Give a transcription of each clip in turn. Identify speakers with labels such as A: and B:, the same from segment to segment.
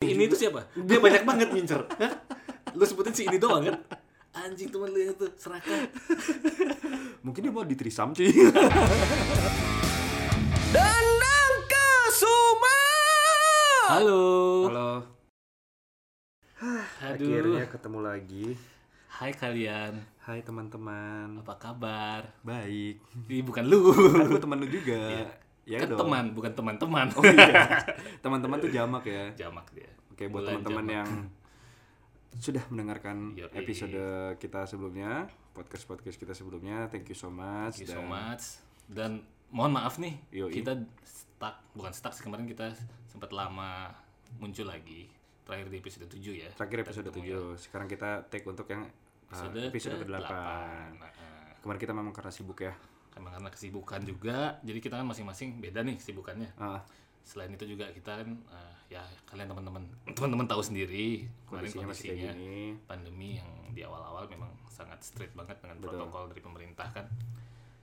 A: ini itu siapa? Dia banyak banget ngincer. Hah? Lu sebutin si ini doang kan? Anjing teman lu ya itu serakah.
B: Mungkin dia mau ditrisam cuy. Danang Kasuma.
A: Halo.
B: Halo,
A: Aduh.
B: akhirnya ketemu lagi.
A: Hai kalian.
B: Hai teman-teman.
A: Apa kabar?
B: Baik.
A: Ih, bukan lu.
B: Kan gue teman lu juga.
A: kan teman, bukan teman-teman.
B: Ya Oh iya. Teman-teman tuh jamak ya.
A: Jamak dia.
B: Oke, buat
A: Bulan
B: teman-teman ya.
A: jamak.
B: yang sudah mendengarkan
A: Yoi.
B: episode kita sebelumnya, podcast-podcast kita sebelumnya, thank you so much.
A: Thank you so
B: Dan
A: much. Dan mohon maaf nih,
B: Yoi.
A: kita stuck, bukan stuck sih kemarin kita sempat lama muncul lagi. Terakhir di episode 7 ya.
B: Terakhir
A: Kita
B: episode
A: ketemu ya.
B: 7. Sekarang kita take untuk yang uh,
A: Episode,
B: episode
A: ke-8.
B: ke-8.
A: Nah, eh,
B: Kemarin kita memang karena sibuk ya.
A: karena karena kesibukan juga, jadi kita kan masing-masing beda nih kesibukannya.
B: Ah,
A: Selain itu juga kita kan eh, ya kalian teman-teman teman-teman tahu sendiri kemarin
B: kondisinya masih kayak
A: kondisinya
B: gini.
A: pandemi yang di awal-awal memang sangat strict banget dengan protokol dari pemerintah kan.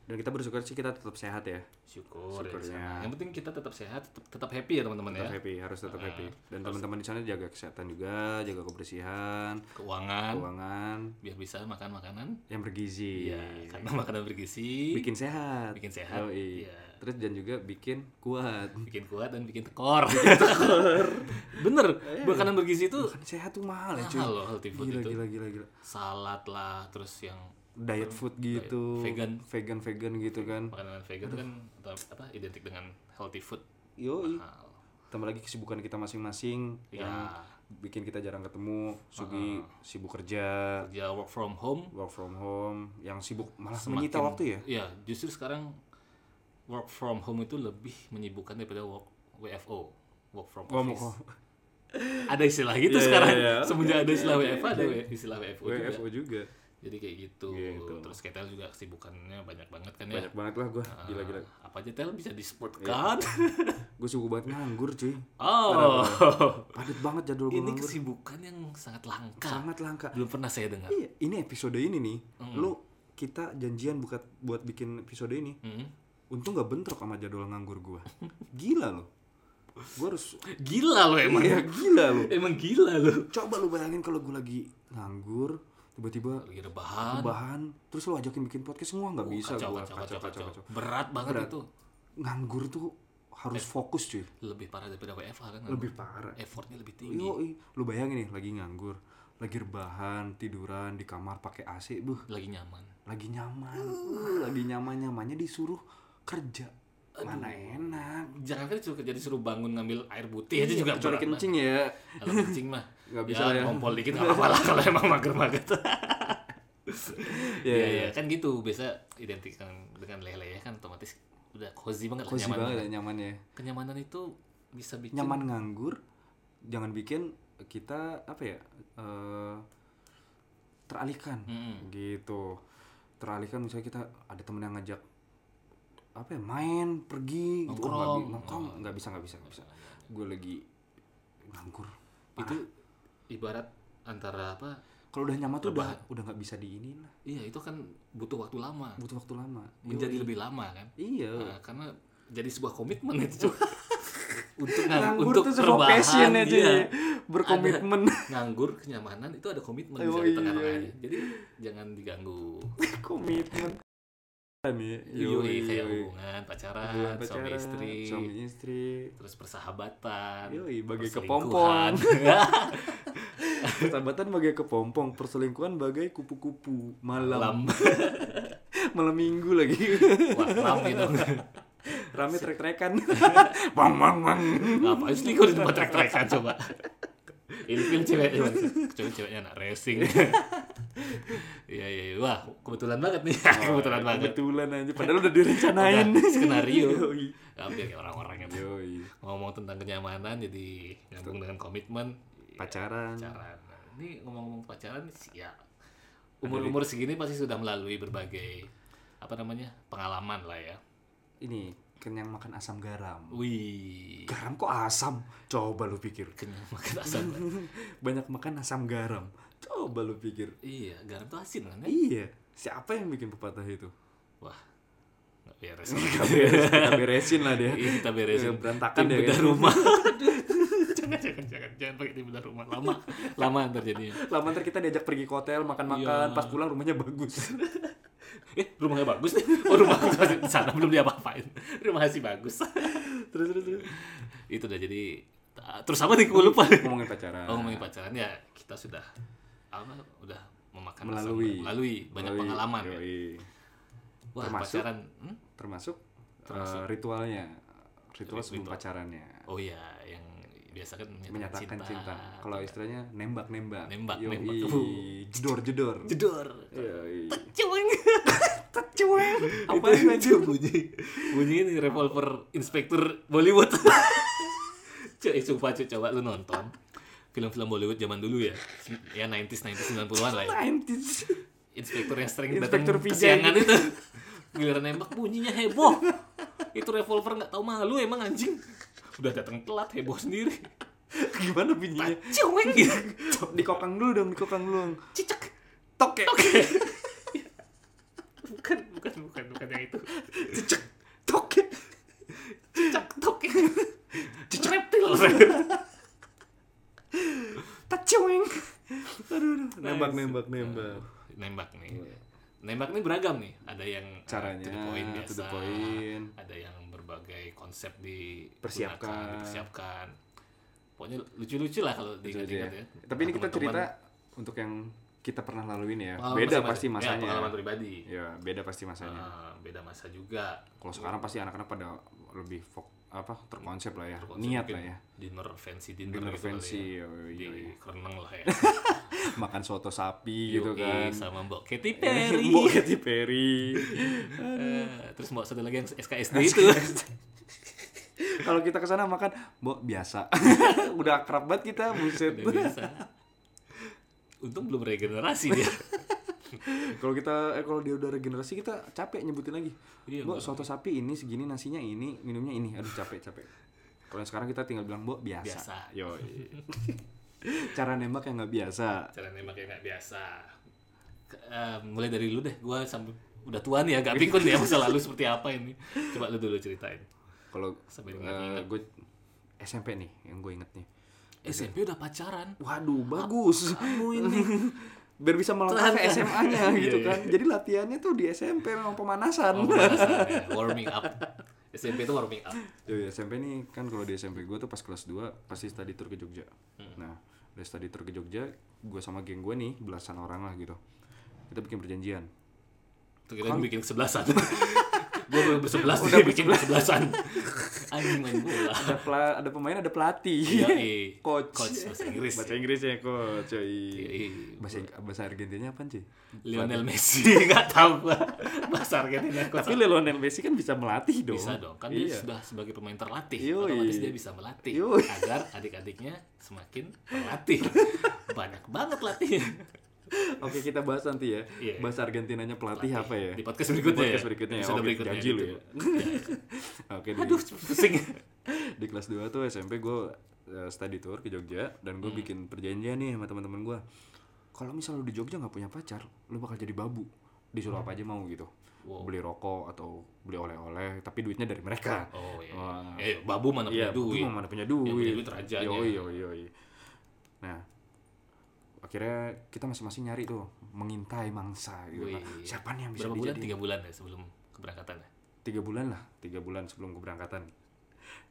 B: Dan kita bersyukur sih kita tetap sehat ya.
A: Syukur ya di
B: Syukurnya.
A: sana. Yang penting kita tetap sehat, tetap, tetap happy ya teman-teman ya. Ah,
B: Tetap happy, harus tetap happy. Dan teman-teman di sana jaga kesehatan juga, jaga kebersihan,
A: Hmm. Keuangan
B: keuangan
A: biar bisa makan makanan
B: yang bergizi.
A: ya karena makanan bergizi bikin,
B: Bikin sehat.
A: sehat
B: Yoi.
A: ya.
B: Terus dan juga bikin kuat.
A: bikin kuat dan bikin tekor bener
B: Iya.
A: makanan bergizi itu
B: Kan sehat tuh mahal ya cuy.
A: mahal loh healthy food
B: Gila,
A: itu
B: gila, gila, gila.
A: salad lah terus yang
B: Diet food gitu.
A: Vegan.
B: Vegan, vegan gitu kan.
A: makanan vegan itu kan atau apa identik dengan healthy food
B: kan. Yoi.
A: mahal
B: Tambah lagi kesibukan kita masing-masing yang
A: ya
B: bikin kita jarang ketemu. Sugi sibuk kerja,
A: kerja work from home
B: work from home, yang sibuk malah
A: semakin-
B: menyita waktu ya.
A: Iya, justru sekarang work from home itu lebih menyibukkan daripada work WFO, work from
B: Oh, Work from
A: office.
B: home.
A: ada istilah gitu
B: Iya,
A: sekarang.
B: iya, iya.
A: Semenjak ada istilah
B: Oke,
A: WFO, ada istilah WFO, juga.
B: WFO juga.
A: Jadi kayak gitu.
B: Gitu.
A: Terus kita juga kesibukannya banyak banget kan ya.
B: Banyak Iya. banget lah gue, gila-gila.
A: Ah, Apa aja tel bisa disebutkan?
B: Gue sibuk banget nganggur cuy.
A: Oh,
B: Padat banget jadwal gue
A: ini
B: nganggur.
A: kesibukan yang sangat langka.
B: Sangat langka.
A: Belum pernah saya dengar.
B: Iya, ini episode ini nih.
A: Hmm.
B: Lu kita janjian buat buat bikin episode ini.
A: Mm.
B: Untung gak bentrok sama jadwal nganggur gua. Gila loh. Gua harus
A: Iya, Gila lo emang.
B: ya gila loh.
A: Emang gila lo.
B: Coba lu bayangin kalau gua lagi nganggur, tiba-tiba
A: Lagi rebahan.
B: bahan terus lu ajakin bikin podcast semua nggak bisa
A: kacau,
B: gua.
A: kacau, kacau, kacau, Berat banget itu.
B: Nganggur tuh harus
A: Eh.
B: fokus cuy.
A: Lebih parah daripada WFH kan.
B: Lebih parah.
A: Effortnya lebih tinggi.
B: Yoi, lu bayangin nih lagi nganggur, lagi rebahan, tiduran di kamar pakai AC, buh,
A: Lagi nyaman.
B: lagi nyaman, Uh, lagi nyaman nyamannya disuruh kerja, mana enak.
A: Jangan kan disuruh kerja disuruh bangun ngambil air putih aja Iya, juga
B: Kecuali
A: berat banget.
B: Iya, kencing ya,
A: Kalau kencing mah.
B: Nggak bisa lah ya.
A: Ngompol dikit nggak apa-apa lah kalau emang mager-mager.
B: Iya,
A: Iya, iya. Kan gitu. Biasa identik dengan- dengan lele ya kan otomatis udah cozy banget lah,
B: cozy
A: nyaman.
B: banget ya nyamannya.
A: Kenyamanan itu bisa bikin
B: Nyaman nganggur, jangan bikin kita apa ya eh, teralihkan,
A: Mm-mm.
B: gitu. Teralihkan misalnya kita ada temen yang ngajak apa ya main pergi gitu. Oh, nggak bi-
A: Nongkrong.
B: nongkrong nggak bisa nggak bisa nggak bisa gue lagi nganggur
A: itu ibarat antara apa?
B: kalau udah nyaman tuh udah udah nggak bisa diinin lah
A: Iya, itu kan butuh waktu lama.
B: butuh waktu lama
A: Menjadi lebih lama kan.
B: iya
A: Nah, karena jadi sebuah komitmen itu cuy. untuk ngang-
B: nganggur
A: Nah, untuk
B: tuh sebuah
A: rebahan,
B: passion aja
A: iya.
B: ya. berkomitmen
A: nganggur kenyamanan itu ada komitmen
B: Oh,
A: bisa di
B: iya,
A: tengah-tengahnya
B: iya.
A: jadi jangan diganggu
B: komitmen nih
A: yoi kayak hubungan pacaran, Iya, suami istri
B: suami istri
A: terus persahabatan
B: Yoi, bagai
A: perselingkuhan.
B: persahabatan bagai kepompong perselingkuhan bagai kupu-kupu malam
A: lam
B: malam minggu lagi
A: wah lam gitu
B: rame trek-trekan bang bang bang
A: ngapain selingkuh di tempat trek-trekan coba ilfil cewek cewek ceweknya anak racing iya iya iya. wah kebetulan banget nih
B: Oh, iya.
A: kebetulan banget
B: kebetulan aja padahal udah direncanain
A: Udah, skenario.
B: Yoi.
A: hampir kayak orang-orang itu
B: Yoi.
A: ngomong tentang kenyamanan jadi nyambung dengan komitmen Iya,
B: pacaran
A: pacaran Nah, ini ngomong-ngomong pacaran sih ya umur umur segini pasti sudah melalui berbagai apa namanya pengalaman lah ya
B: ini kenyang makan asam garam
A: wih
B: garam kok asam coba lu pikir
A: kenyang makan asam
B: banyak makan asam garam coba lu pikir
A: iya garam tuh asin kan ya
B: iya siapa yang bikin pepatah itu
A: wah nggak beres
B: kita beresin lah dia
A: Iya, gitu. kita beresin
B: Iya, berantakan
A: Tim
B: deh
A: bedah
B: kayaknya.
A: rumah jangan, jangan, jangan, jangan pakai di belah rumah. Lama, lama ntar jadinya.
B: Lama ntar kita diajak pergi ke hotel,
A: Iya.
B: makan-makan, pas pulang rumahnya bagus.
A: Eh, rumahnya bagus nih. Oh, rumah aku masih di sana belum diapa-apain. Rumahnya sih bagus. terus, terus, terus. Itu udah jadi. ta- Terus apa nih? Gue lupa.
B: Ngomongin pacaran.
A: Oh, ngomongin pacaran ya kita sudah apa? Udah memakan asam,
B: Melalui.
A: melalui banyak
B: Yoi,
A: pengalaman. ya.
B: yoi.
A: Wah,
B: Termasuk-
A: pacaran. hmm?
B: Termasuk,
A: Termasuk.
B: eh, ritualnya. Ritual sebelum
A: Ritual.
B: pacarannya.
A: Oh iya, yang biasa kan menyatakan,
B: Menyatakan cinta.
A: cinta.
B: Kalau istilahnya nembak-nembak.
A: Nembak,
B: Yoi.
A: nembak.
B: Jedor-jedor.
A: jedor.
B: Yoi.
A: Cuing.
B: Cuek. Apa
A: itu,
B: itu?
A: itu bunyi bunyi ini revolver inspektur Bollywood cuy sumpah cuy coba lu nonton film-film Bollywood zaman dulu ya ya 90s 90s 90-an lah ya
B: 90s.
A: inspektur yang sering
B: Inspektur
A: datang
B: Vijay
A: kesiangan itu giliran nembak bunyinya heboh itu revolver nggak tahu malu emang anjing udah datang telat heboh sendiri
B: Gimana bunyinya?
A: cuing gitu
B: Dikokang dulu dong, dikokang dulu.
A: cicak
B: Toke.
A: oke bukan bukan bukan bukan yang itu
B: Cicek. Toke.
A: cicak tok reptil
B: Tacueng. Aduh, aduh. Nembak, nembak, nembak.
A: Eh, nembak nih nembak nih beragam nih ada yang uh,
B: Caranya,
A: to the point
B: to
A: biasa
B: the point.
A: ada yang berbagai konsep di
B: Persiapkan.
A: persiapkan pokoknya lucu-lucu lah kalau diingat-ingat ya
B: Tapi ini kita cerita
A: Teman-teman,
B: untuk yang kita pernah laluin ya.
A: pengalaman
B: Beda
A: masing-masing.
B: pasti
A: ya, pengalaman
B: masanya.
A: pribadi
B: Ya, beda pasti masanya.
A: Uh, beda masa juga
B: Kalau sekarang pasti anak-anak pada lebih fok apa terkonsep lah ya,
A: Konsep
B: niat
A: mungkin
B: lah ya.
A: dinner fancy dinner,
B: Dinner
A: gitu kali
B: fancy, Iya,
A: ya.
B: yoi,
A: di
B: yoi.
A: kereneng lah ya
B: makan soto sapi gitu
A: Yoi,
B: kan.
A: sama mbak Katy Perry
B: Mbok Katy Perry.
A: Eh, terus mbak satu lagi yang SKSD itu
B: Kalau kita ke sana makan mbok biasa. Udah akrab banget kita, buset.
A: Udah biasa. Untung belum regenerasi dia.
B: kalau kita eh, kalau dia udah regenerasi kita capek nyebutin lagi
A: Iya,
B: mbok
A: Mbak.
B: soto sapi ini segini nasinya ini minumnya ini aduh capek capek kalau yang sekarang kita tinggal bilang mbok biasa,
A: Biasa.
B: yo cara nembak yang nggak biasa
A: Cara nembak yang nggak biasa. Ke- eh, mulai dari lu deh, gua sampai udah tua nih ya, gak pikun ya masa lalu seperti apa ini. Coba lu dulu ceritain.
B: kalau eh,
A: Sampai dengan
B: gue SMP nih yang gue inget nih
A: SMP udah pacaran.
B: waduh bagus
A: Kamu ini
B: biar bisa melangkah ke
A: Terangkan.
B: SMA-nya gitu
A: Iya, iya.
B: kan jadi latihannya tuh di SMP memang
A: oh,
B: pemanasan
A: pemanasan ya, warming up. SMP itu warming up.
B: Yo, SMP nih kan kalau di SMP gue tuh pas kelas 2 pasti study tour ke Jogja.
A: Hmm.
B: Nah, dari study tour ke Jogja, gue sama geng gue nih belasan orang lah gitu. Kita bikin perjanjian.
A: Tuh kira bikin kesebelasan. gua baru bersebelas dia bikin kesebelasan. Anjing main bola.
B: Ada pela- ada pemain, ada pelatih.
A: Iya, iya.
B: coach.
A: Coach bahasa Inggris.
B: Bahasa Inggris ya, coach. Yoi.
A: Iya,
B: Bahasa Ing- bahasa Argentinanya apaan sih?
A: Lionel Messi nggak tahu gua. Bahasa Argentina
B: Tapi Lionel Messi kan bisa melatih dong.
A: bisa dong kan dia
B: iya.
A: sudah sebagai pemain terlatih
B: Yoi.
A: otomatis dia bisa melatih
B: Yoi.
A: agar adik-adiknya semakin terlatih banyak banget latih
B: Oke, kita bahas nanti ya.
A: Iya.
B: Bahasa Argentinanya pelatih, apa ya?
A: di podcast berikutnya
B: Podcast
A: ya?
B: berikutnya.
A: Episode
B: Oke,
A: berikutnya
B: janji lu
A: gitu.
B: ya. Oke, di-
A: aduh pusing
B: di kelas 2 tuh SMP gue eh, study tour ke Jogja dan
A: Hmm.
B: gue bikin perjanjian nih sama teman-teman gue kalau misal lu di Jogja nggak punya pacar lu bakal jadi babu disuruh
A: Hmm.
B: apa aja mau gitu beli rokok atau beli oleh-oleh tapi duitnya dari mereka
A: oh iya
B: Wah.
A: eh babu mana punya
B: iya
A: duit
B: mau mana punya
A: Yang punya
B: duit
A: duit rajanya.
B: Yoi, yoi, yoi. nah akhirnya kita masing-masing nyari tuh mengintai mangsa gitu
A: Wih.
B: kan. siapa nih yang bisa
A: berapa bulan
B: dijadiin?
A: tiga bulan ya sebelum keberangkatan ya
B: tiga bulan lah tiga bulan sebelum keberangkatan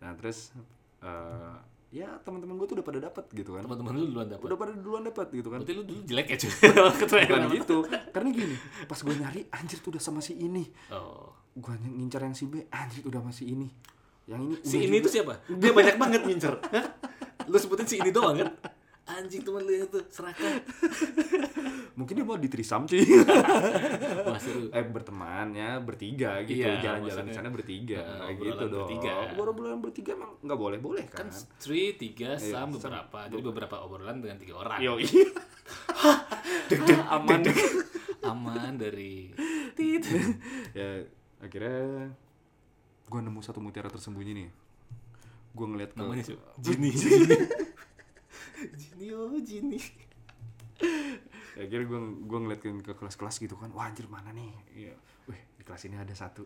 B: nah terus eh, ya teman-teman gue tuh udah pada dapat gitu kan
A: teman-teman lu duluan dapat
B: udah pada duluan dapat gitu kan
A: berarti lu dulu jelek ya cuy
B: bukan
A: Keterangan.
B: gitu karena gini pas gue nyari anjir tuh udah sama si ini
A: oh
B: gue ngincar yang si B anjir udah sama si ini yang ini
A: si
B: udah
A: ini
B: juga.
A: tuh siapa dia banyak banget ngincer Hah? lu sebutin si ini doang kan anjing teman lu yang itu serakah
B: mungkin dia mau ditrisam cuy
A: wah seru
B: eh bertemannya bertiga gitu
A: Iya,
B: jalan-jalan di
A: maksudnya.
B: sana bertiga
A: Heeh,
B: gitu
A: obrolan
B: dong
A: bertiga.
B: obrolan bertiga emang nggak boleh boleh kan,
A: kan Iya, Sri tiga sam
B: Sam.
A: beberapa jadi beberapa obrolan dengan tiga orang
B: yo
A: aman aman dari tit
B: ya akhirnya gue nemu satu mutiara tersembunyi nih gue ngeliat ke
A: namanya siapa Jini Jini Jini oh Jini
B: Ya, akhirnya gue gue ngeliatin ke kelas-kelas gitu kan wah anjir mana nih Iya. wih di kelas ini ada satu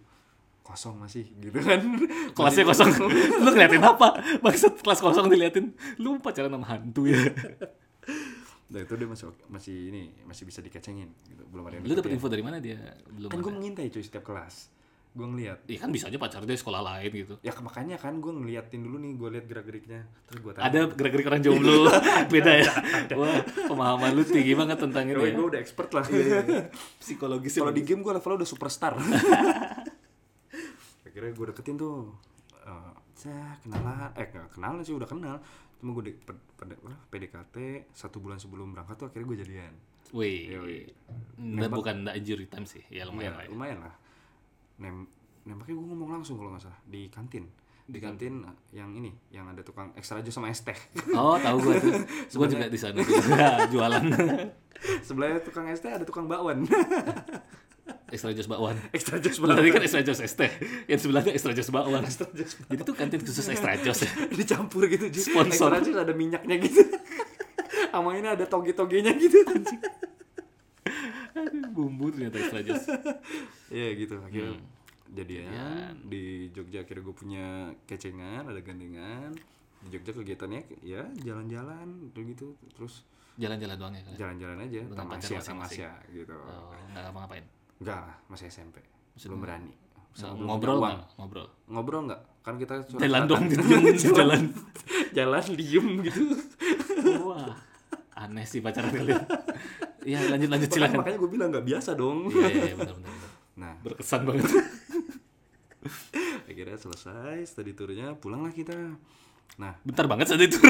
B: kosong masih gitu kan
A: kelasnya kosong lu ngeliatin apa maksud kelas kosong diliatin lu pacaran sama hantu ya
B: Nah itu dia masih oke- masih ini masih bisa dikecengin gitu. Belum ada yang
A: lu dapet
B: deketin.
A: info dari mana dia belum
B: Kan gue
A: ada.
B: mengintai cuy setiap kelas. Gue ngeliat.
A: Iya kan bisa aja pacar dia sekolah lain gitu
B: Ya ke- makanya kan gue ngeliatin dulu nih gue liat gerak-geriknya. Terus gue tanya.
A: ada gerak-gerik orang jomblo beda ya wah pemahaman lu tinggi banget tentang itu ya iya,
B: gue udah expert lah.
A: psikologis
B: Kalau di game gue levelnya udah superstar. Akhirnya gue deketin tuh. eh cah, kenalan. Eh gak kenalan sih udah kenal. Cuma gue di- ped- ped- apa, PDKT satu bulan sebelum berangkat tuh akhirnya gue jadian.
A: wih
B: Yoi.
A: Nggak, bukan nggak injury time sih ya lumayan lah
B: ya,
A: ya.
B: lumayan lah. Nem nembaknya gue ngomong langsung kalau nggak salah di kantin. Di kantin eh, yang ini, yang ada tukang extra jus sama es teh.
A: oh tahu gue tuh gue juga di sana tuh. Ya, jualan
B: Sebelahnya tukang es teh ada tukang bakwan.
A: extra jus bakwan
B: extra jus
A: Lu
B: bakwan.
A: tadi kan extra jus es teh yang sebelahnya extra jus bakwan
B: Extra jus bakwan.
A: jadi tuh kantin khusus extra jus ya
B: dicampur gitu Ji.
A: Sponsor.
B: Extra jus ada minyaknya gitu. sama ini ada toge-togenya gitu anjing.
A: Aduh, bumbu ternyata extra jus
B: Iya gitu akhirnya
A: Hmm.
B: jadian di Jogja akhirnya gue punya kecengan ada gandengan di Jogja kegiatannya ya jalan-jalan terus gitu terus
A: jalan-jalan doang ya kan
B: jalan-jalan aja
A: Dengan
B: Taman
A: pacar
B: Asia Taman
A: masing-masing.
B: Asia gitu
A: oh, nggak ngapa-ngapain
B: Enggak lah, masih SMP. belum berani. Sama belum
A: ngobrol
B: punya uang.
A: nggak ngobrol
B: Ngobrol enggak? Kan kita surat
A: jalan dong di jalan
B: jalan diem gitu.
A: wah aneh sih pacaran kalian Iya lanjut lanjut
B: Makanya,
A: silakan
B: makanya gue bilang enggak biasa dong.
A: iya iya, iya benar benar benar.
B: Nah,
A: berkesan banget
B: akhirnya selesai study tournya, pulanglah kita. Nah,
A: bentar banget saat itu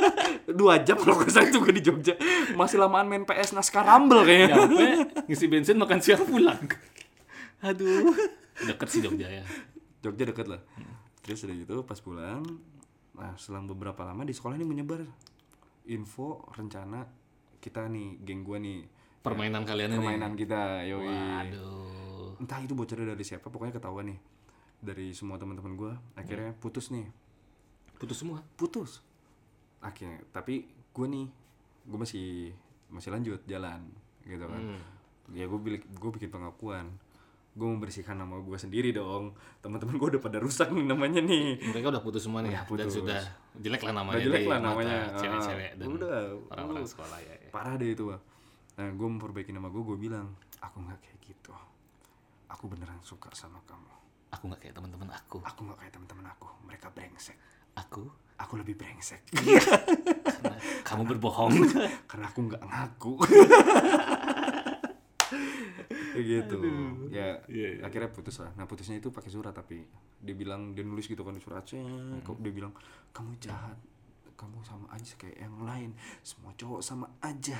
B: dua jam kalau ke satu gue di Jogja. Masih lamaan main PS naskah Rumble kayaknya.
A: nyampe ngisi bensin makan siang pulang aduh deket sih Jogja ya
B: Jogja deket lah. Terus udah gitu pas pulang, nah selang beberapa lama di sekolah ini menyebar info rencana kita nih, geng gue nih,
A: permainan kalian ini
B: permainan kita, yoi.
A: waduh
B: entah itu bocornya dari siapa pokoknya ketahuan nih dari semua teman-teman gue akhirnya putus nih
A: putus semua
B: putus akhirnya tapi gue nih gue masih masih lanjut jalan gitu kan
A: Hmm.
B: ya gue gue bikin pengakuan gue membersihkan nama gue sendiri dong teman-teman gue udah pada rusak nih namanya nih
A: mereka udah putus semua nih ya?
B: Udah
A: dan
B: putus.
A: sudah jelek lah Iya. namanya
B: Udah jelek
A: di
B: lah
A: mata
B: namanya.
A: cewek-cewek
B: Ah,
A: dan
B: udah,
A: orang-orang
B: lu-
A: sekolah ya, ya.
B: parah deh itu Wak. nah gue memperbaiki nama gue gue bilang aku nggak kayak gitu aku beneran suka sama kamu
A: aku nggak kayak teman-teman aku
B: aku nggak kayak teman-teman aku mereka brengsek
A: aku
B: aku lebih brengsek
A: karena kamu berbohong
B: karena aku nggak ngaku Kayak gitu ya
A: Iya, iya.
B: akhirnya putus lah nah putusnya itu pakai surat tapi dia bilang dia nulis gitu kan di surat "Cek,"
A: Hmm.
B: kok dia bilang kamu jahat kamu sama aja kayak yang lain semua cowok sama aja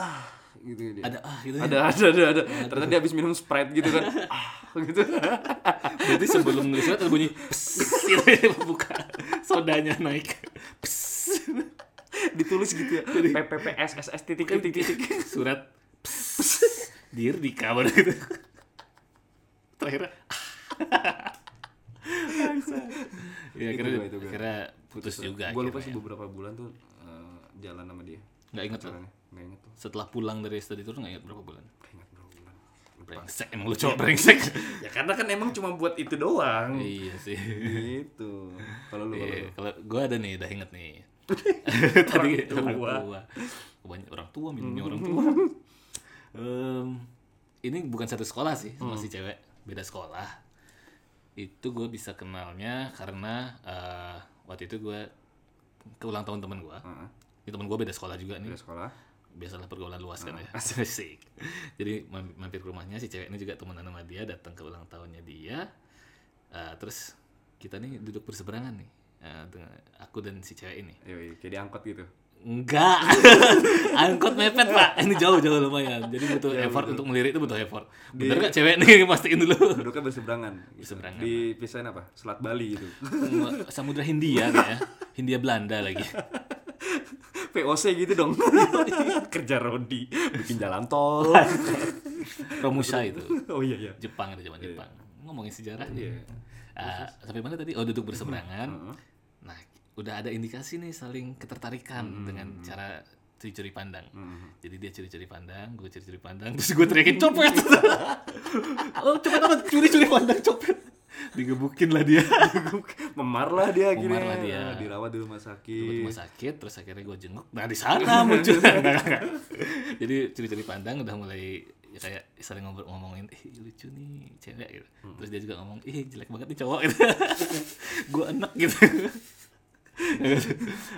B: ah gitu dia
A: ada ah gitu ya.
B: ada ada ada, ada. ternyata dia habis minum sprite gitu kan ah gitu
A: berarti sebelum nulis surat ada bunyi "Pss," gitu ya, buka sodanya naik Pss.
B: ditulis gitu ya PPPSSS titik titik titik
A: surat "Pss." dear di kamar gitu terakhir ah. Bangsat. ya
B: Itu
A: akhirnya,
B: gua, itu gua.
A: akhirnya putus juga
B: gue lupa
A: akhirnya.
B: sih
A: ya.
B: beberapa bulan tuh eh, jalan sama dia
A: nggak inget loh
B: pacarannya nggak inget tuh
A: setelah pulang dari study tour nggak inget berapa bulan
B: ingat berapa bulan
A: brengsek emang lu cowok brengsek
B: ya karena kan emang cuma buat itu doang
A: iya sih
B: gitu kalau lu kalau
A: Iya,
B: lu.
A: kalau gue ada nih udah inget nih tadi Hmm. orang tua,
B: tua.
A: banyak orang tua minumnya orang tua Em, ini bukan satu sekolah sih sama si cewek beda sekolah itu gue bisa kenalnya karena eh, waktu itu gue ke ulang tahun teman gue
B: Heeh,
A: ini teman gue beda sekolah juga nih
B: udah sekolah
A: biasalah pergaulan luas kan ya asik jadi mam- mampir ke rumahnya si cewek ini juga temenan sama dia datang ke ulang tahunnya dia Eh, terus kita nih duduk berseberangan nih Eh, dengan- aku dan si cewek ini
B: Yoi, kayak diangkot gitu
A: enggak angkot mepet pak ini jauh jauh lumayan jadi butuh effort untuk melirik itu butuh effort bener nggak cewek nih pastiin dulu
B: duduknya berseberangan gitu.
A: Berseberangan.
B: dipisahin apa selat Bali gitu
A: samudra Hindia kayak ya Hindia Belanda lagi
B: VOC gitu dong kerja rodi bikin jalan tol
A: Romusha itu
B: oh iya iya
A: Jepang ada zaman Jepang ngomongin sejarah
B: Iya.
A: Ah, sampai mana tadi oh duduk
B: Hmm,
A: berseberangan nah udah ada indikasi nih saling ketertarikan dengan cara curi-curi pandang. Jadi dia curi-curi pandang, gue curi-curi pandang, terus gue teriakin copet. oh, copet apa? Curi-curi pandang copet. Digebukin lah dia.
B: memar lah dia akhirnya
A: Memar lah dia.
B: Nah, dirawat di rumah sakit
A: Gue ke rumah sakit, terus akhirnya gue jenguk. Nah di sana muncul. Nggak, nggak, nggak. Jadi curi-curi pandang udah mulai ya kayak saling ngobrol ngomongin, ih lucu nih cewek gitu.
B: Hmm.
A: Terus dia juga ngomong, ih jelek banget nih cowok gitu. gue enak gitu.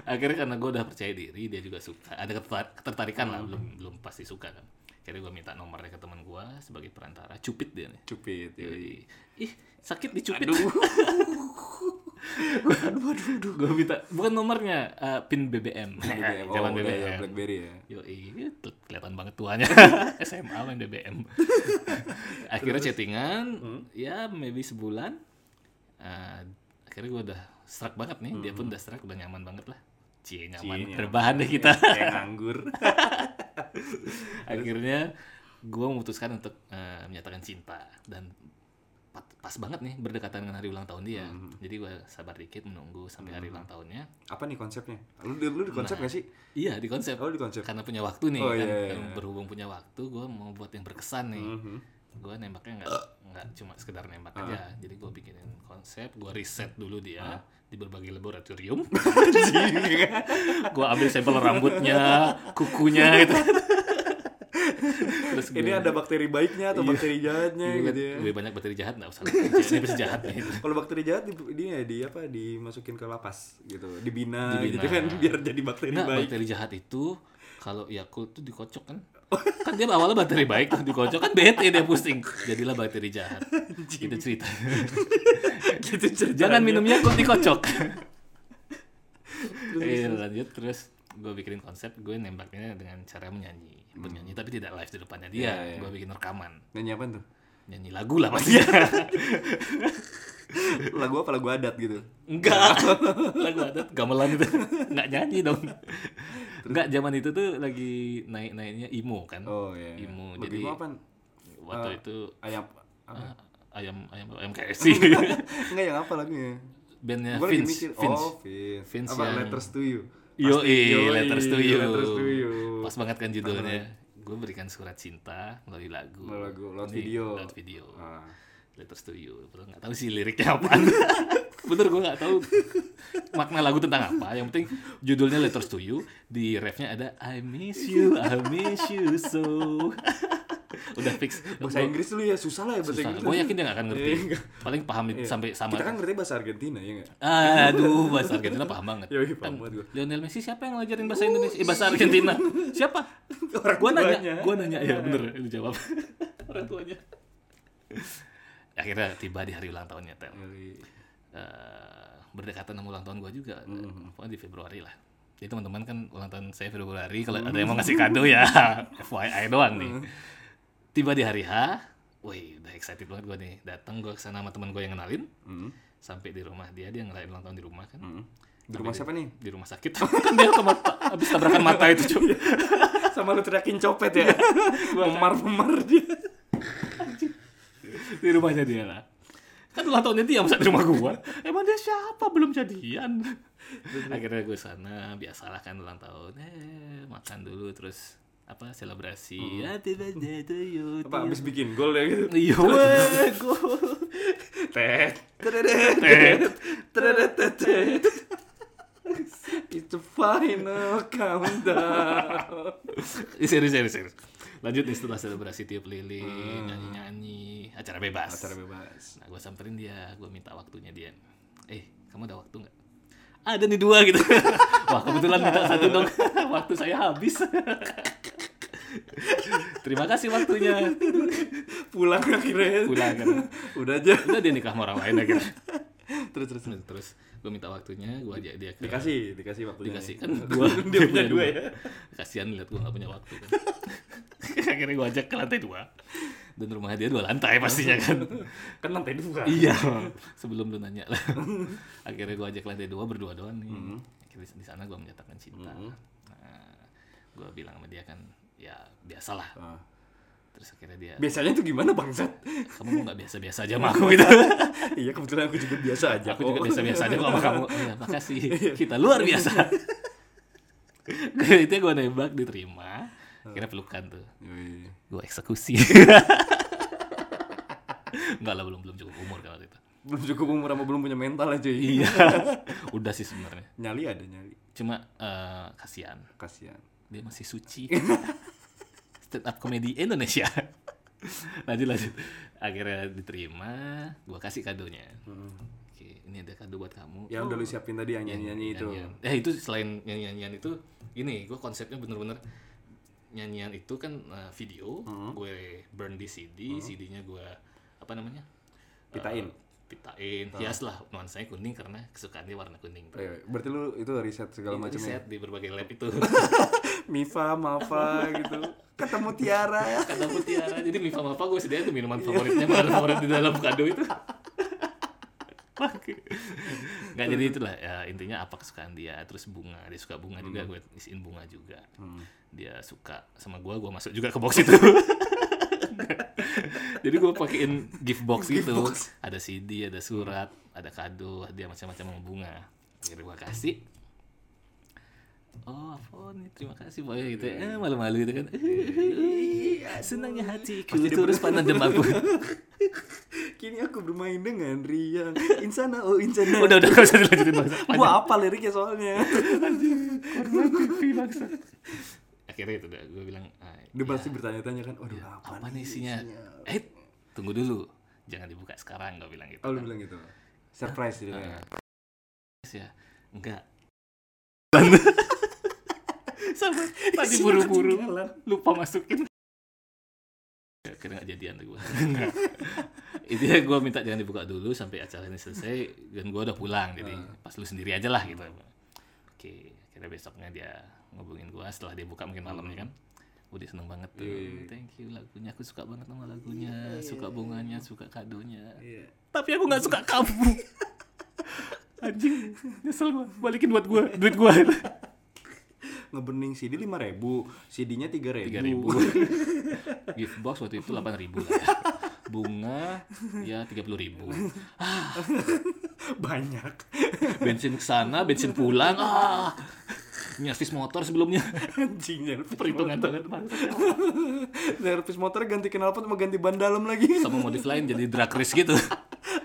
A: akhirnya karena gue udah percaya diri dia juga suka ada ketertar- ketertarikan lah belum
B: Hmm.
A: belum pasti suka kan akhirnya gue minta nomornya ke teman gue sebagai perantara cupit dia nih
B: cupit yoi.
A: Yoi. Ih, sakit dicubit. Aduh. aduh, aduh, aduh. Gue minta, bukan nomornya, eh, pin BBM.
B: BBM. Oh,
A: Zaman
B: udah ya,
A: BBM.
B: Blackberry ya.
A: Yoi, itu iya, kelihatan banget tuanya. SMA main BBM. akhirnya chattingan,
B: Hmm?
A: ya maybe sebulan. Eh, akhirnya gue udah struck banget nih, dia pun udah struck, udah nyaman banget lah. Cie, nyaman,
B: Hmm. Cie,
A: berbahan deh kita.
B: Kayak nganggur.
A: akhirnya gue memutuskan untuk eh, menyatakan cinta dan pat- pas banget nih berdekatan dengan hari ulang tahun dia
B: Hmm.
A: jadi gue sabar dikit menunggu sampai hari ulang tahunnya
B: Apa nih konsepnya? Lu, lu di konsep nggak sih?
A: iya di konsep
B: Oh, di konsep.
A: karena punya waktu nih
B: Oh,
A: kan
B: iya, iya,
A: Karena
B: iya.
A: berhubung punya waktu gue mau buat yang berkesan nih
B: Mhm.
A: gue nembaknya nggak nggak cuma sekedar
B: Ah.
A: nembak aja jadi gue bikinin konsep gue riset dulu dia di berbagai laboratorium gue ambil sampel rambutnya kukunya gitu terus
B: Ini
A: gua-
B: ada bakteri baiknya atau bakteri jahatnya
A: Iya,
B: gitu ya.
A: Lebih banyak bakteri jahat nggak usah. Ini bisa jahat nih.
B: Kalau bakteri jahat di, di, di apa dimasukin ke lapas gitu, dibina,
A: Dibina.
B: gitu kan biar jadi bakteri
A: Nah,
B: baik.
A: bakteri jahat itu kalau Yakult tuh dikocok kan. Kan dia awalnya bakteri baik tuh dikocok kan bete dia pusing. Jadilah bakteri jahat. Itu cerita.
B: gitu
A: Jangan
B: ceritanya.
A: minum Yakult dikocok. Iya lanjut terus gue bikinin konsep gue nembaknya dengan cara menyanyi bernyanyi tapi tidak live di depannya dia
B: Hmm. Iya, iya.
A: gue bikin rekaman
B: Nyanyi apa tuh?
A: nyanyi lagu lah pastinya
B: Iya. Lagu apa? Lagu adat gitu.
A: Enggak. Lagu adat gamelan itu. Enggak nyanyi dong. Enggak zaman itu tuh lagi naik-naiknya imo kan.
B: Oh iya. iya.
A: Imo,
B: Lagu
A: jadi-
B: imo apa?
A: Waktu
B: Ah.
A: itu
B: Ayam apa?
A: ah, ayam ayam ayam KFC.
B: Enggak yang apa lagunya?
A: Bandnya
B: Gua lagi
A: Ya, Vince.
B: mikir,
A: Vince.
B: Oh, Vince.
A: Vince
B: apa
A: yang-
B: letters to you?
A: Yoi,
B: Pasti, yoi, iya,
A: letters to you.
B: Letters to you.
A: Pas banget kan judulnya. Gue berikan surat cinta melalui lagu.
B: Melalui lagu, lewat
A: Ini,
B: video.
A: Lewat video.
B: Ah.
A: Letters to you. Padahal nggak tahu sih liriknya apaan. Bener gue nggak tahu makna lagu tentang apa. Yang penting judulnya Letters to You. Di refnya ada I miss you, I miss you so. Udah fix.
B: Bahasa
A: Gua-
B: Inggris dulu ya susah lah ya bahasa
A: susah.
B: Inggris.
A: Gue yakin dia nggak akan ngerti.
B: Iya, nggak.
A: Paling paham
B: Iya.
A: sampai sama.
B: Kita kan ngerti bahasa Argentina ya enggak?
A: Ah, Aduh, bahasa Argentina paham banget. Kan,
B: Yoi, paham banget gua.
A: Lionel Messi siapa yang ngajarin bahasa Indonesia? Eh, bahasa Argentina. Siapa?
B: Orang
A: gua
B: tuanya. Iya.
A: nanya, gua nanya ya bener itu jawab. Orang tuanya. Akhirnya tiba di hari ulang tahunnya, Tel. eh, berdekatan sama ulang tahun gue juga
B: Mm-hmm.
A: pokoknya di Februari lah jadi teman-teman kan ulang tahun saya Februari kalau ada
B: Mm-hmm.
A: yang mau ngasih kado ya FYI doang nih tiba di hari H woi udah excited banget gue nih datang gue kesana sama teman gue yang kenalin
B: Hmm.
A: sampai di rumah dia dia ngerayain ulang tahun di rumah kan
B: Hmm. Di rumah siapa nih?
A: di rumah sakit kan dia ke mata habis tabrakan mata itu cuy
B: Sama lu teriakin copet ya. Memar-memar dia.
A: di rumahnya dia lah kan ulang tahunnya dia masa di rumah gua emang dia siapa belum jadian akhirnya gue sana biasalah kan ulang tahun eh makan dulu terus apa selebrasi Ya, happy birthday to you
B: Apa abis bikin gol ya gitu.
A: iya weh, gua
B: Tet. Tet. Tet. Tet. It's the final countdown.
A: Eh, serius serius serius lanjut nih setelah selebrasi tiup lilin nyanyi nyanyi Hmm. acara bebas
B: Acara bebas.
A: nah gue samperin dia gue minta waktunya dia eh kamu ada waktu nggak ada nih dua gitu wah kebetulan minta satu dong waktu saya habis terima kasih waktunya
B: Pulang akhirnya.
A: pulang kan
B: Udah aja.
A: udah dia nikah sama orang lain akhirnya
B: Terus terus.
A: Nah, terus gue minta waktunya gue ajak dia ke
B: Dikasih, dikasih waktunya.
A: dikasih
B: nih.
A: kan dua
B: Dia punya dua ya.
A: kasihan lihat gue nggak punya waktu kan akhirnya gue ajak ke lantai dua dan rumahnya dia dua lantai pastinya kan
B: Kan lantai dua.
A: Iya. Sebelum lu nanya lah. Akhirnya gua ajak lantai dua berdua doang nih. Akhirnya di sana gua menyatakan cinta. Nah, gua bilang sama dia kan ya biasalah.
B: Ah.
A: Terus akhirnya dia
B: Biasanya tuh gimana bangsat?
A: kamu mau nggak biasa-biasa aja sama aku gitu.
B: iya kebetulan aku juga biasa aja.
A: aku
B: kok.
A: juga biasa-biasa aja kok sama kamu. Iya, makasih. Kita luar biasa. itu gue nembak diterima kira pelukan tuh
B: Yoi.
A: gue eksekusi Enggak lah belum belum cukup umur kan waktu itu
B: belum cukup umur sama belum punya mental aja ya.
A: iya udah sih sebenarnya
B: nyali ada nyali
A: cuma eh, kasihan
B: kasihan
A: dia masih suci stand up comedy Indonesia lanjut lanjut akhirnya diterima gua kasih kadonya oke ini ada kado buat kamu Oh,
B: Hmm. yang Ya udah lu siapin tadi
A: Iya,
B: yang nyanyi nyanyi itu
A: Nyanyian. eh itu selain nyanyi nyanyian itu ini gua konsepnya bener-bener nyanyian itu kan eh, video
B: Hmm.
A: gue burn di CD CD-nya gue apa namanya Eh,
B: pitain Hmm.
A: pitain hias lah nuansanya kuning karena kesukaannya warna kuning
B: Eh, berarti lu itu riset segala
A: Itu
B: macamnya
A: Iya, riset di berbagai lab itu
B: Mifa Mafa gitu ketemu Tiara
A: kata mutiara jadi Mifa Mafa gue sediain tuh minuman favoritnya makanan favorit di dalam kado itu nggak jadi itulah ya, intinya apa kesukaan dia terus bunga dia suka bunga juga gue isiin bunga juga dia suka sama gue gue masuk juga ke box itu jadi gue pakein gift box gitu ada CD ada surat ada kado dia macam-macam sama bunga jadi gue kasih oh apa nih terima kasih boy gitu ya. eh, malu-malu gitu kan iya. senangnya hatiku terus panas demamku
B: kini aku bermain dengan riang insana oh insana
A: udah udah gak usah dilanjutin bahasa
B: gua apa liriknya soalnya
A: akhirnya itu udah gue bilang ah,
B: dia pasti bertanya-tanya kan waduh apa
A: Iya, apa nih isinya eh tunggu dulu jangan dibuka sekarang gue bilang gitu Nah.
B: oh lu bilang gitu surprise gitu
A: Ah.
B: ya
A: Terus ya enggak sama
B: Iya,
A: tadi buru-buru lupa masukin akhirnya nggak jadian tuh gue itu ya gue minta jangan dibuka dulu sampai acara ini selesai dan gue udah pulang jadi pas lu sendiri aja lah gitu oke akhirnya besoknya dia ngubungin gue setelah dia buka mungkin malamnya kan gue dia seneng banget tuh thank you lagunya aku suka banget sama lagunya suka bunganya suka kadonya iya,
B: Iya.
A: tapi aku nggak suka kamu anjing nyesel gua balikin buat gua duit gua
B: ngebening CD lima ribu CD-nya tiga
A: tiga
B: ribu
A: ribu gift box waktu itu delapan ribu lah ya. bunga ya tiga puluh ribu
B: banyak
A: bensin kesana bensin pulang ah nyastis motor sebelumnya
B: anjing nyerpes
A: perhitungan banget Bang.
B: nyerpes motor ganti knalpot mau ganti ban dalam lagi
A: sama modif lain jadi drag race gitu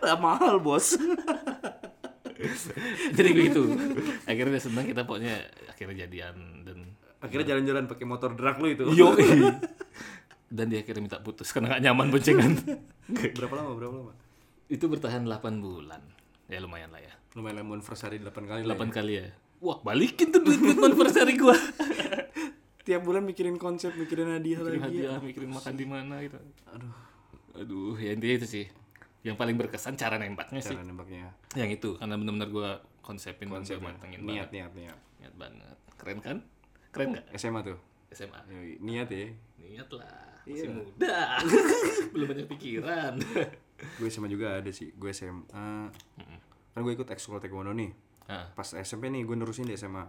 B: Lah, mahal bos
A: jadi begitu akhirnya dia seneng kita pokoknya akhirnya jadian dan
B: akhirnya jalan-jalan pakai motor drag lu itu
A: yo dan dia akhirnya minta putus karena gak nyaman boncengan
B: berapa lama berapa lama
A: itu bertahan 8 bulan ya lumayan lah ya
B: lumayan lama anniversary 8 kali lah ya.
A: 8 kali ya wah balikin tuh duit duit anniversary gua
B: tiap bulan mikirin konsep mikirin hadiah
A: mikirin
B: lagi
A: hadiah mikirin makan di mana gitu
B: aduh
A: aduh ya intinya itu sih yang paling berkesan cara nembaknya Iya sih
B: cara nembaknya
A: yang itu karena benar-benar gua konsepin dan gua matengin banget
B: niat niat niat
A: niat banget keren kan keren nggak
B: SMA tuh
A: SMA
B: Yoi, niat ya
A: niat lah masih muda belum banyak pikiran
B: gue SMA juga ada sih gue SMA kan gue ikut ekskul taekwondo nih
A: Ah,
B: pas SMP nih gue nerusin di SMA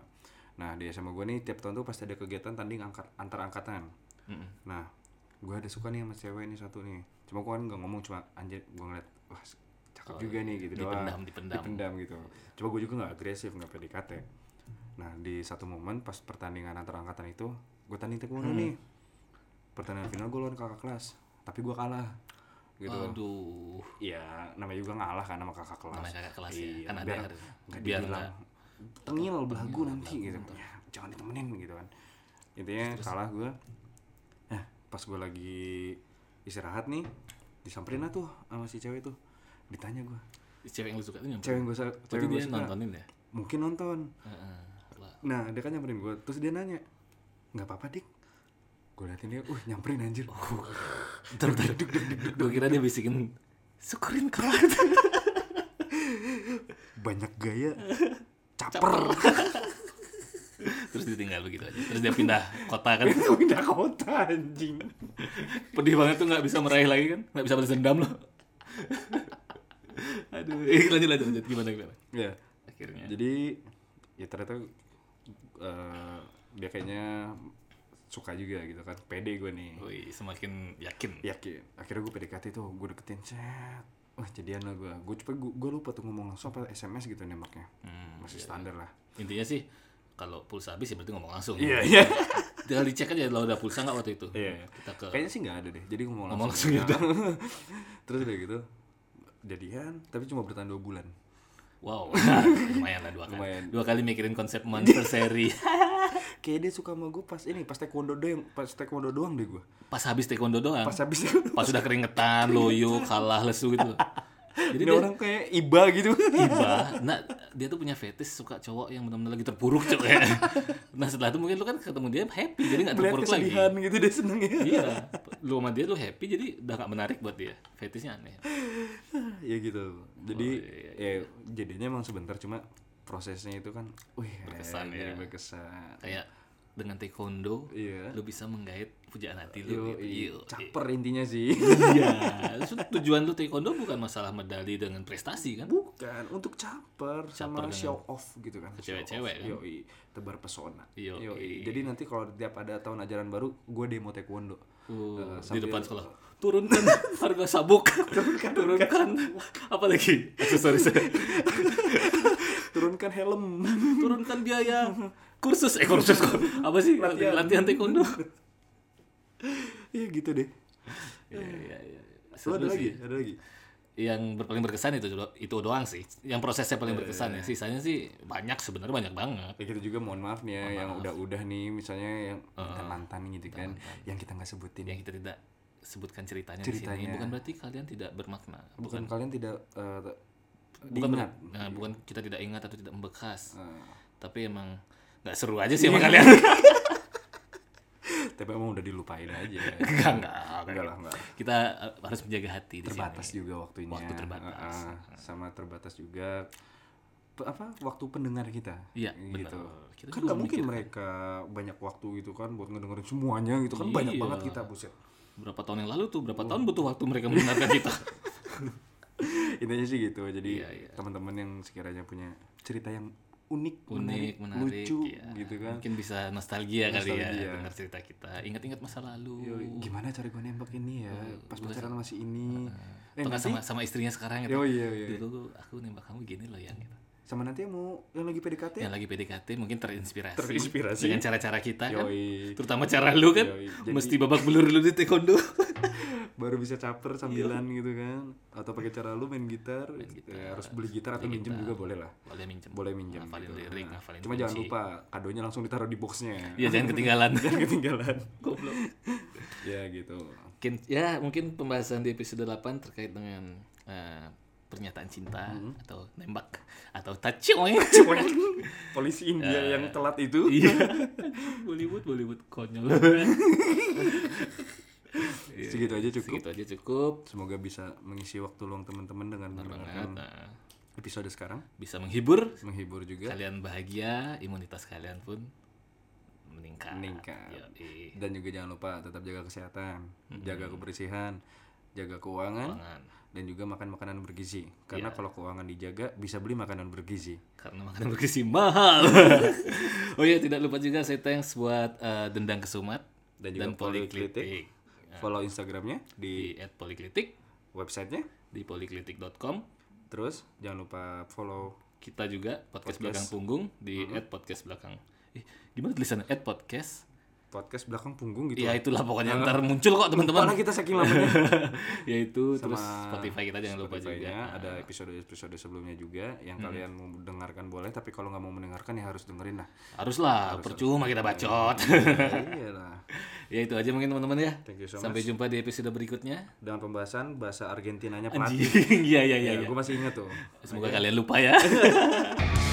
B: nah di SMA gue nih tiap tahun tuh pasti ada kegiatan tanding angkat antar angkatan nah gue ada suka nih sama cewek nih satu nih cuma gue kan nggak ngomong cuma anjir gue ngeliat wah cakep juga nih gitu
A: Oh, dipendam,
B: doang
A: dipendam.
B: dipendam gitu coba gue juga nggak agresif nggak PDKT nah di satu momen pas pertandingan antar angkatan itu gue tanding taekwondo
A: Hmm.
B: nih pertandingan final gue lawan kakak kelas tapi gue kalah gitu
A: Oh. aduh
B: ya namanya juga ngalah kan sama kakak kelas
A: namanya kakak kelas ya
B: Iya,
A: kan ada
B: biar-
A: harus
B: nggak
A: biar
B: dibilang
A: nggak- Iya,
B: tengil belagu nanti gitu ya, jangan ditemenin gitu kan intinya kalah gue nah pas gue lagi istirahat nih disamperin lah tuh sama si cewek tuh ditanya gue
A: cewek yang lu suka itu nyamperin
B: cewek gue
A: berarti
B: cewek gue
A: dia nontonin ya
B: mungkin nonton
A: Heeh. Wah,
B: nah dia kan nyamperin gue terus dia nanya nggak apa-apa dik gue liatin dia uh nyamperin anjir
A: Oh. Bentar, bentar. Gue kira dia bisikin syukurin keras.
B: banyak gaya caper
A: Terus ditinggal begitu aja. Terus dia pindah kota kan.
B: pindah kota anjing
A: Pedih banget tuh nggak bisa meraih lagi kan. Nggak bisa balas dendam loh. Aduh, eh, lanjut lanjut lanjut gimana gimana.
B: ya
A: Akhirnya.
B: Jadi ya ternyata eh, dia kayaknya suka juga gitu kan. Pede gue nih.
A: Wih, semakin yakin.
B: Yakin. Akhirnya gue PDKT tuh, gue deketin chat. Wah jadian lah gue. Gue cepet gue, lupa tuh ngomong langsung apa SMS gitu nembaknya.
A: Hmm,
B: Masih standar lah.
A: Intinya sih kalau pulsa habis ya berarti ngomong langsung.
B: Iya, iya.
A: Tinggal dicek aja lo udah pulsa nggak waktu itu.
B: Iya.
A: Kita ke
B: Kayaknya sih nggak ada deh. Jadi ngomong
A: Ngomong
B: langsung. gitu.
A: langsung gitu.
B: Terus udah gitu jadian tapi cuma bertahan dua bulan.
A: wow. lumayan lah dua kali.
B: Lumayan.
A: Dua kali mikirin konsep monster seri.
B: Kayak dia suka sama gue pas ini pas taekwondo doang, pas taekwondo doang deh gue.
A: Pas habis taekwondo doang.
B: Pas
A: Pas,
B: habis
A: udah keringetan, loyo, kalah, lesu gitu. loh. Jadi
B: ini
A: dia
B: orang kayak iba gitu.
A: tiba nah dia tuh punya fetish suka cowok yang benar-benar lagi terpuruk cowok ya. nah setelah itu mungkin lu kan ketemu dia happy jadi nggak
B: Melihat
A: terpuruk lagi
B: kesedihan gitu dia seneng ya.
A: iya lu sama dia lu happy jadi udah nggak menarik buat dia fetishnya aneh
B: ya gitu jadi
A: Oh, iya,
B: ya jadinya emang sebentar cuma prosesnya itu kan wih
A: Berkesan, ya.
B: jadi berkesan
A: kayak dengan taekwondo
B: Iya.
A: lu bisa menggait pujaan hati
B: Yo,
A: lu
B: i-
A: gitu. Yo, i-
B: caper intinya sih
A: iya Terus tujuan lu taekwondo bukan masalah medali dengan prestasi kan
B: bukan untuk caper, sama
A: dengan-
B: show off gitu kan
A: Ke
B: show off.
A: cewek-cewek kan?
B: Yoi, tebar pesona
A: Yoi.
B: jadi nanti kalau tiap ada tahun ajaran baru gue demo taekwondo
A: Uh,
B: Eh,
A: di
B: sambil-
A: depan sekolah turunkan harga sabuk turunkan, apa lagi aksesoris
B: turunkan helm
A: turunkan biaya kursus eh kursus kok. apa sih
B: Latihan.
A: latihan, taekwondo
B: ya gitu deh
A: Iya, iya, iya.
B: Lu ada
A: Seru
B: lagi
A: sih.
B: ada lagi
A: yang ber- paling berkesan itu do- itu doang sih yang prosesnya paling
B: Iya,
A: berkesan ya sisanya sih banyak sebenarnya banyak banget
B: Ya kita juga mohon maaf nih ya yang udah-udah nih misalnya yang kita mantan gitu kan yang kita nggak sebutin
A: Ah. yang kita tidak sebutkan ceritanya, di
B: Ceritanya.
A: sini bukan berarti kalian tidak bermakna
B: bukan kalian tidak eh,
A: bukan ber-
B: diingat
A: nah, bukan kita tidak ingat atau tidak membekas
B: Eh,
A: tapi emang nggak seru aja sih sama
B: Iya.
A: kalian
B: Eh, tapi emang udah dilupain aja
A: enggak enggak,
B: enggak lah enggak
A: kita eh, harus menjaga hati di
B: terbatas
A: sini.
B: juga waktunya
A: Waktu terbatas. Ah.
B: Eh, eh, sama terbatas juga pe- apa waktu pendengar kita
A: Iya,
B: gitu
A: benar. Kita
B: kan
A: juga
B: nggak mungkin mereka banyak waktu gitu kan buat ngedengerin semuanya gitu kan banyak
A: Iya.
B: banget kita buset
A: berapa tahun yang lalu tuh
B: Oh.
A: berapa tahun butuh waktu mereka mendengarkan kita
B: intinya sih gitu jadi
A: Iya, iya.
B: teman-teman yang sekiranya punya cerita yang unik
A: unik menarik
B: lucu
A: ya.
B: gitu kan
A: mungkin bisa nostalgia, kali
B: Nostalgia.
A: ya dengar cerita kita ingat-ingat masa lalu
B: Yoi, gimana cara gue nembak ini ya
A: Oh,
B: pas pacaran masih ini eh,
A: atau nggak
B: nanti
A: sama sama istrinya sekarang gitu
B: Yoi, yoi, yoi.
A: dulu aku nembak kamu gini loh yang gitu.
B: sama nanti yang mau yang lagi PDKT
A: yang lagi PDKT mungkin terinspirasi,
B: Terinspirasi.
A: dengan cara-cara kita kan
B: Yoi.
A: terutama cara lu kan
B: Yoi, jadi-
A: mesti babak belur dulu di taekwondo
B: baru bisa caper
A: Iya.
B: sambilan gitu kan atau pakai cara lu main gitar, Ya, harus beli gitar atau minjem juga boleh lah
A: boleh minjem
B: boleh minjem
A: ngafalin
B: gitu.
A: lirik
B: Nah,
A: ngafalin
B: cuma jangan lupa kadonya langsung ditaruh di boxnya
A: ya jangan ketinggalan
B: jangan ketinggalan
A: Goblok.
B: ya gitu
A: mungkin ya mungkin pembahasan di episode 8 terkait dengan eh, pernyataan cinta
B: Mm-hmm.
A: atau nembak atau touching
B: polisi India yang telat itu
A: iya Bollywood Bollywood konyol
B: segitu aja cukup
A: segitu aja cukup
B: semoga bisa mengisi waktu luang teman-teman dengan mendengarkan
A: banget nah,
B: episode sekarang
A: bisa menghibur
B: menghibur juga
A: kalian bahagia imunitas kalian pun meningkat
B: Meningkat.
A: Yoi.
B: dan juga jangan lupa tetap jaga kesehatan jaga kebersihan jaga keuangan
A: Jangan.
B: dan juga makan makanan bergizi karena kalau keuangan dijaga bisa beli makanan bergizi
A: karena makanan bergizi mahal oh iya tidak lupa juga saya thanks buat eh, dendang kesumat
B: dan juga poliklitik follow instagramnya di
A: di at poliklitik
B: websitenya
A: di poliklitik.com
B: terus jangan lupa follow
A: kita juga podcast, belakang punggung di at podcast belakang Ih, gimana tulisannya at podcast
B: podcast belakang punggung gitu
A: ya itulah pokoknya ntar muncul kok teman-teman
B: Karena kita saking lamanya
A: yaitu terus
B: Sama
A: Spotify kita jangan lupa juga
B: Ya
A: Hmm.
B: Spotify-nya, ada episode episode sebelumnya juga yang kalian mau mendengarkan boleh tapi kalau nggak mau mendengarkan ya harus dengerin lah
A: haruslah percuma kita bacot
B: iya lah
A: ya itu aja mungkin teman-teman ya
B: Thank you so
A: sampai jumpa di episode berikutnya
B: dengan pembahasan bahasa Argentinanya pelatih
A: anjing iya iya iya
B: ya,
A: iya.
B: gue masih ingat tuh
A: semoga kalian lupa ya